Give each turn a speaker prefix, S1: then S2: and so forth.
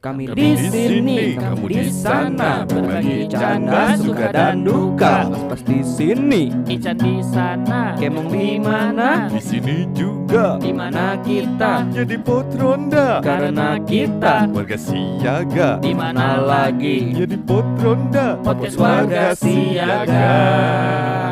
S1: Kami di sini, kamu di sana, berbagi canda, suka dan duka. Pas di sini,
S2: Ican di sana,
S1: kemong di mana?
S3: Di sini juga
S1: Di mana kita?
S3: jadi pot ronda.
S1: Karena kita
S3: Warga siaga
S1: di mana lagi?
S3: jadi pot ronda.
S2: Podcast
S1: Warga siaga.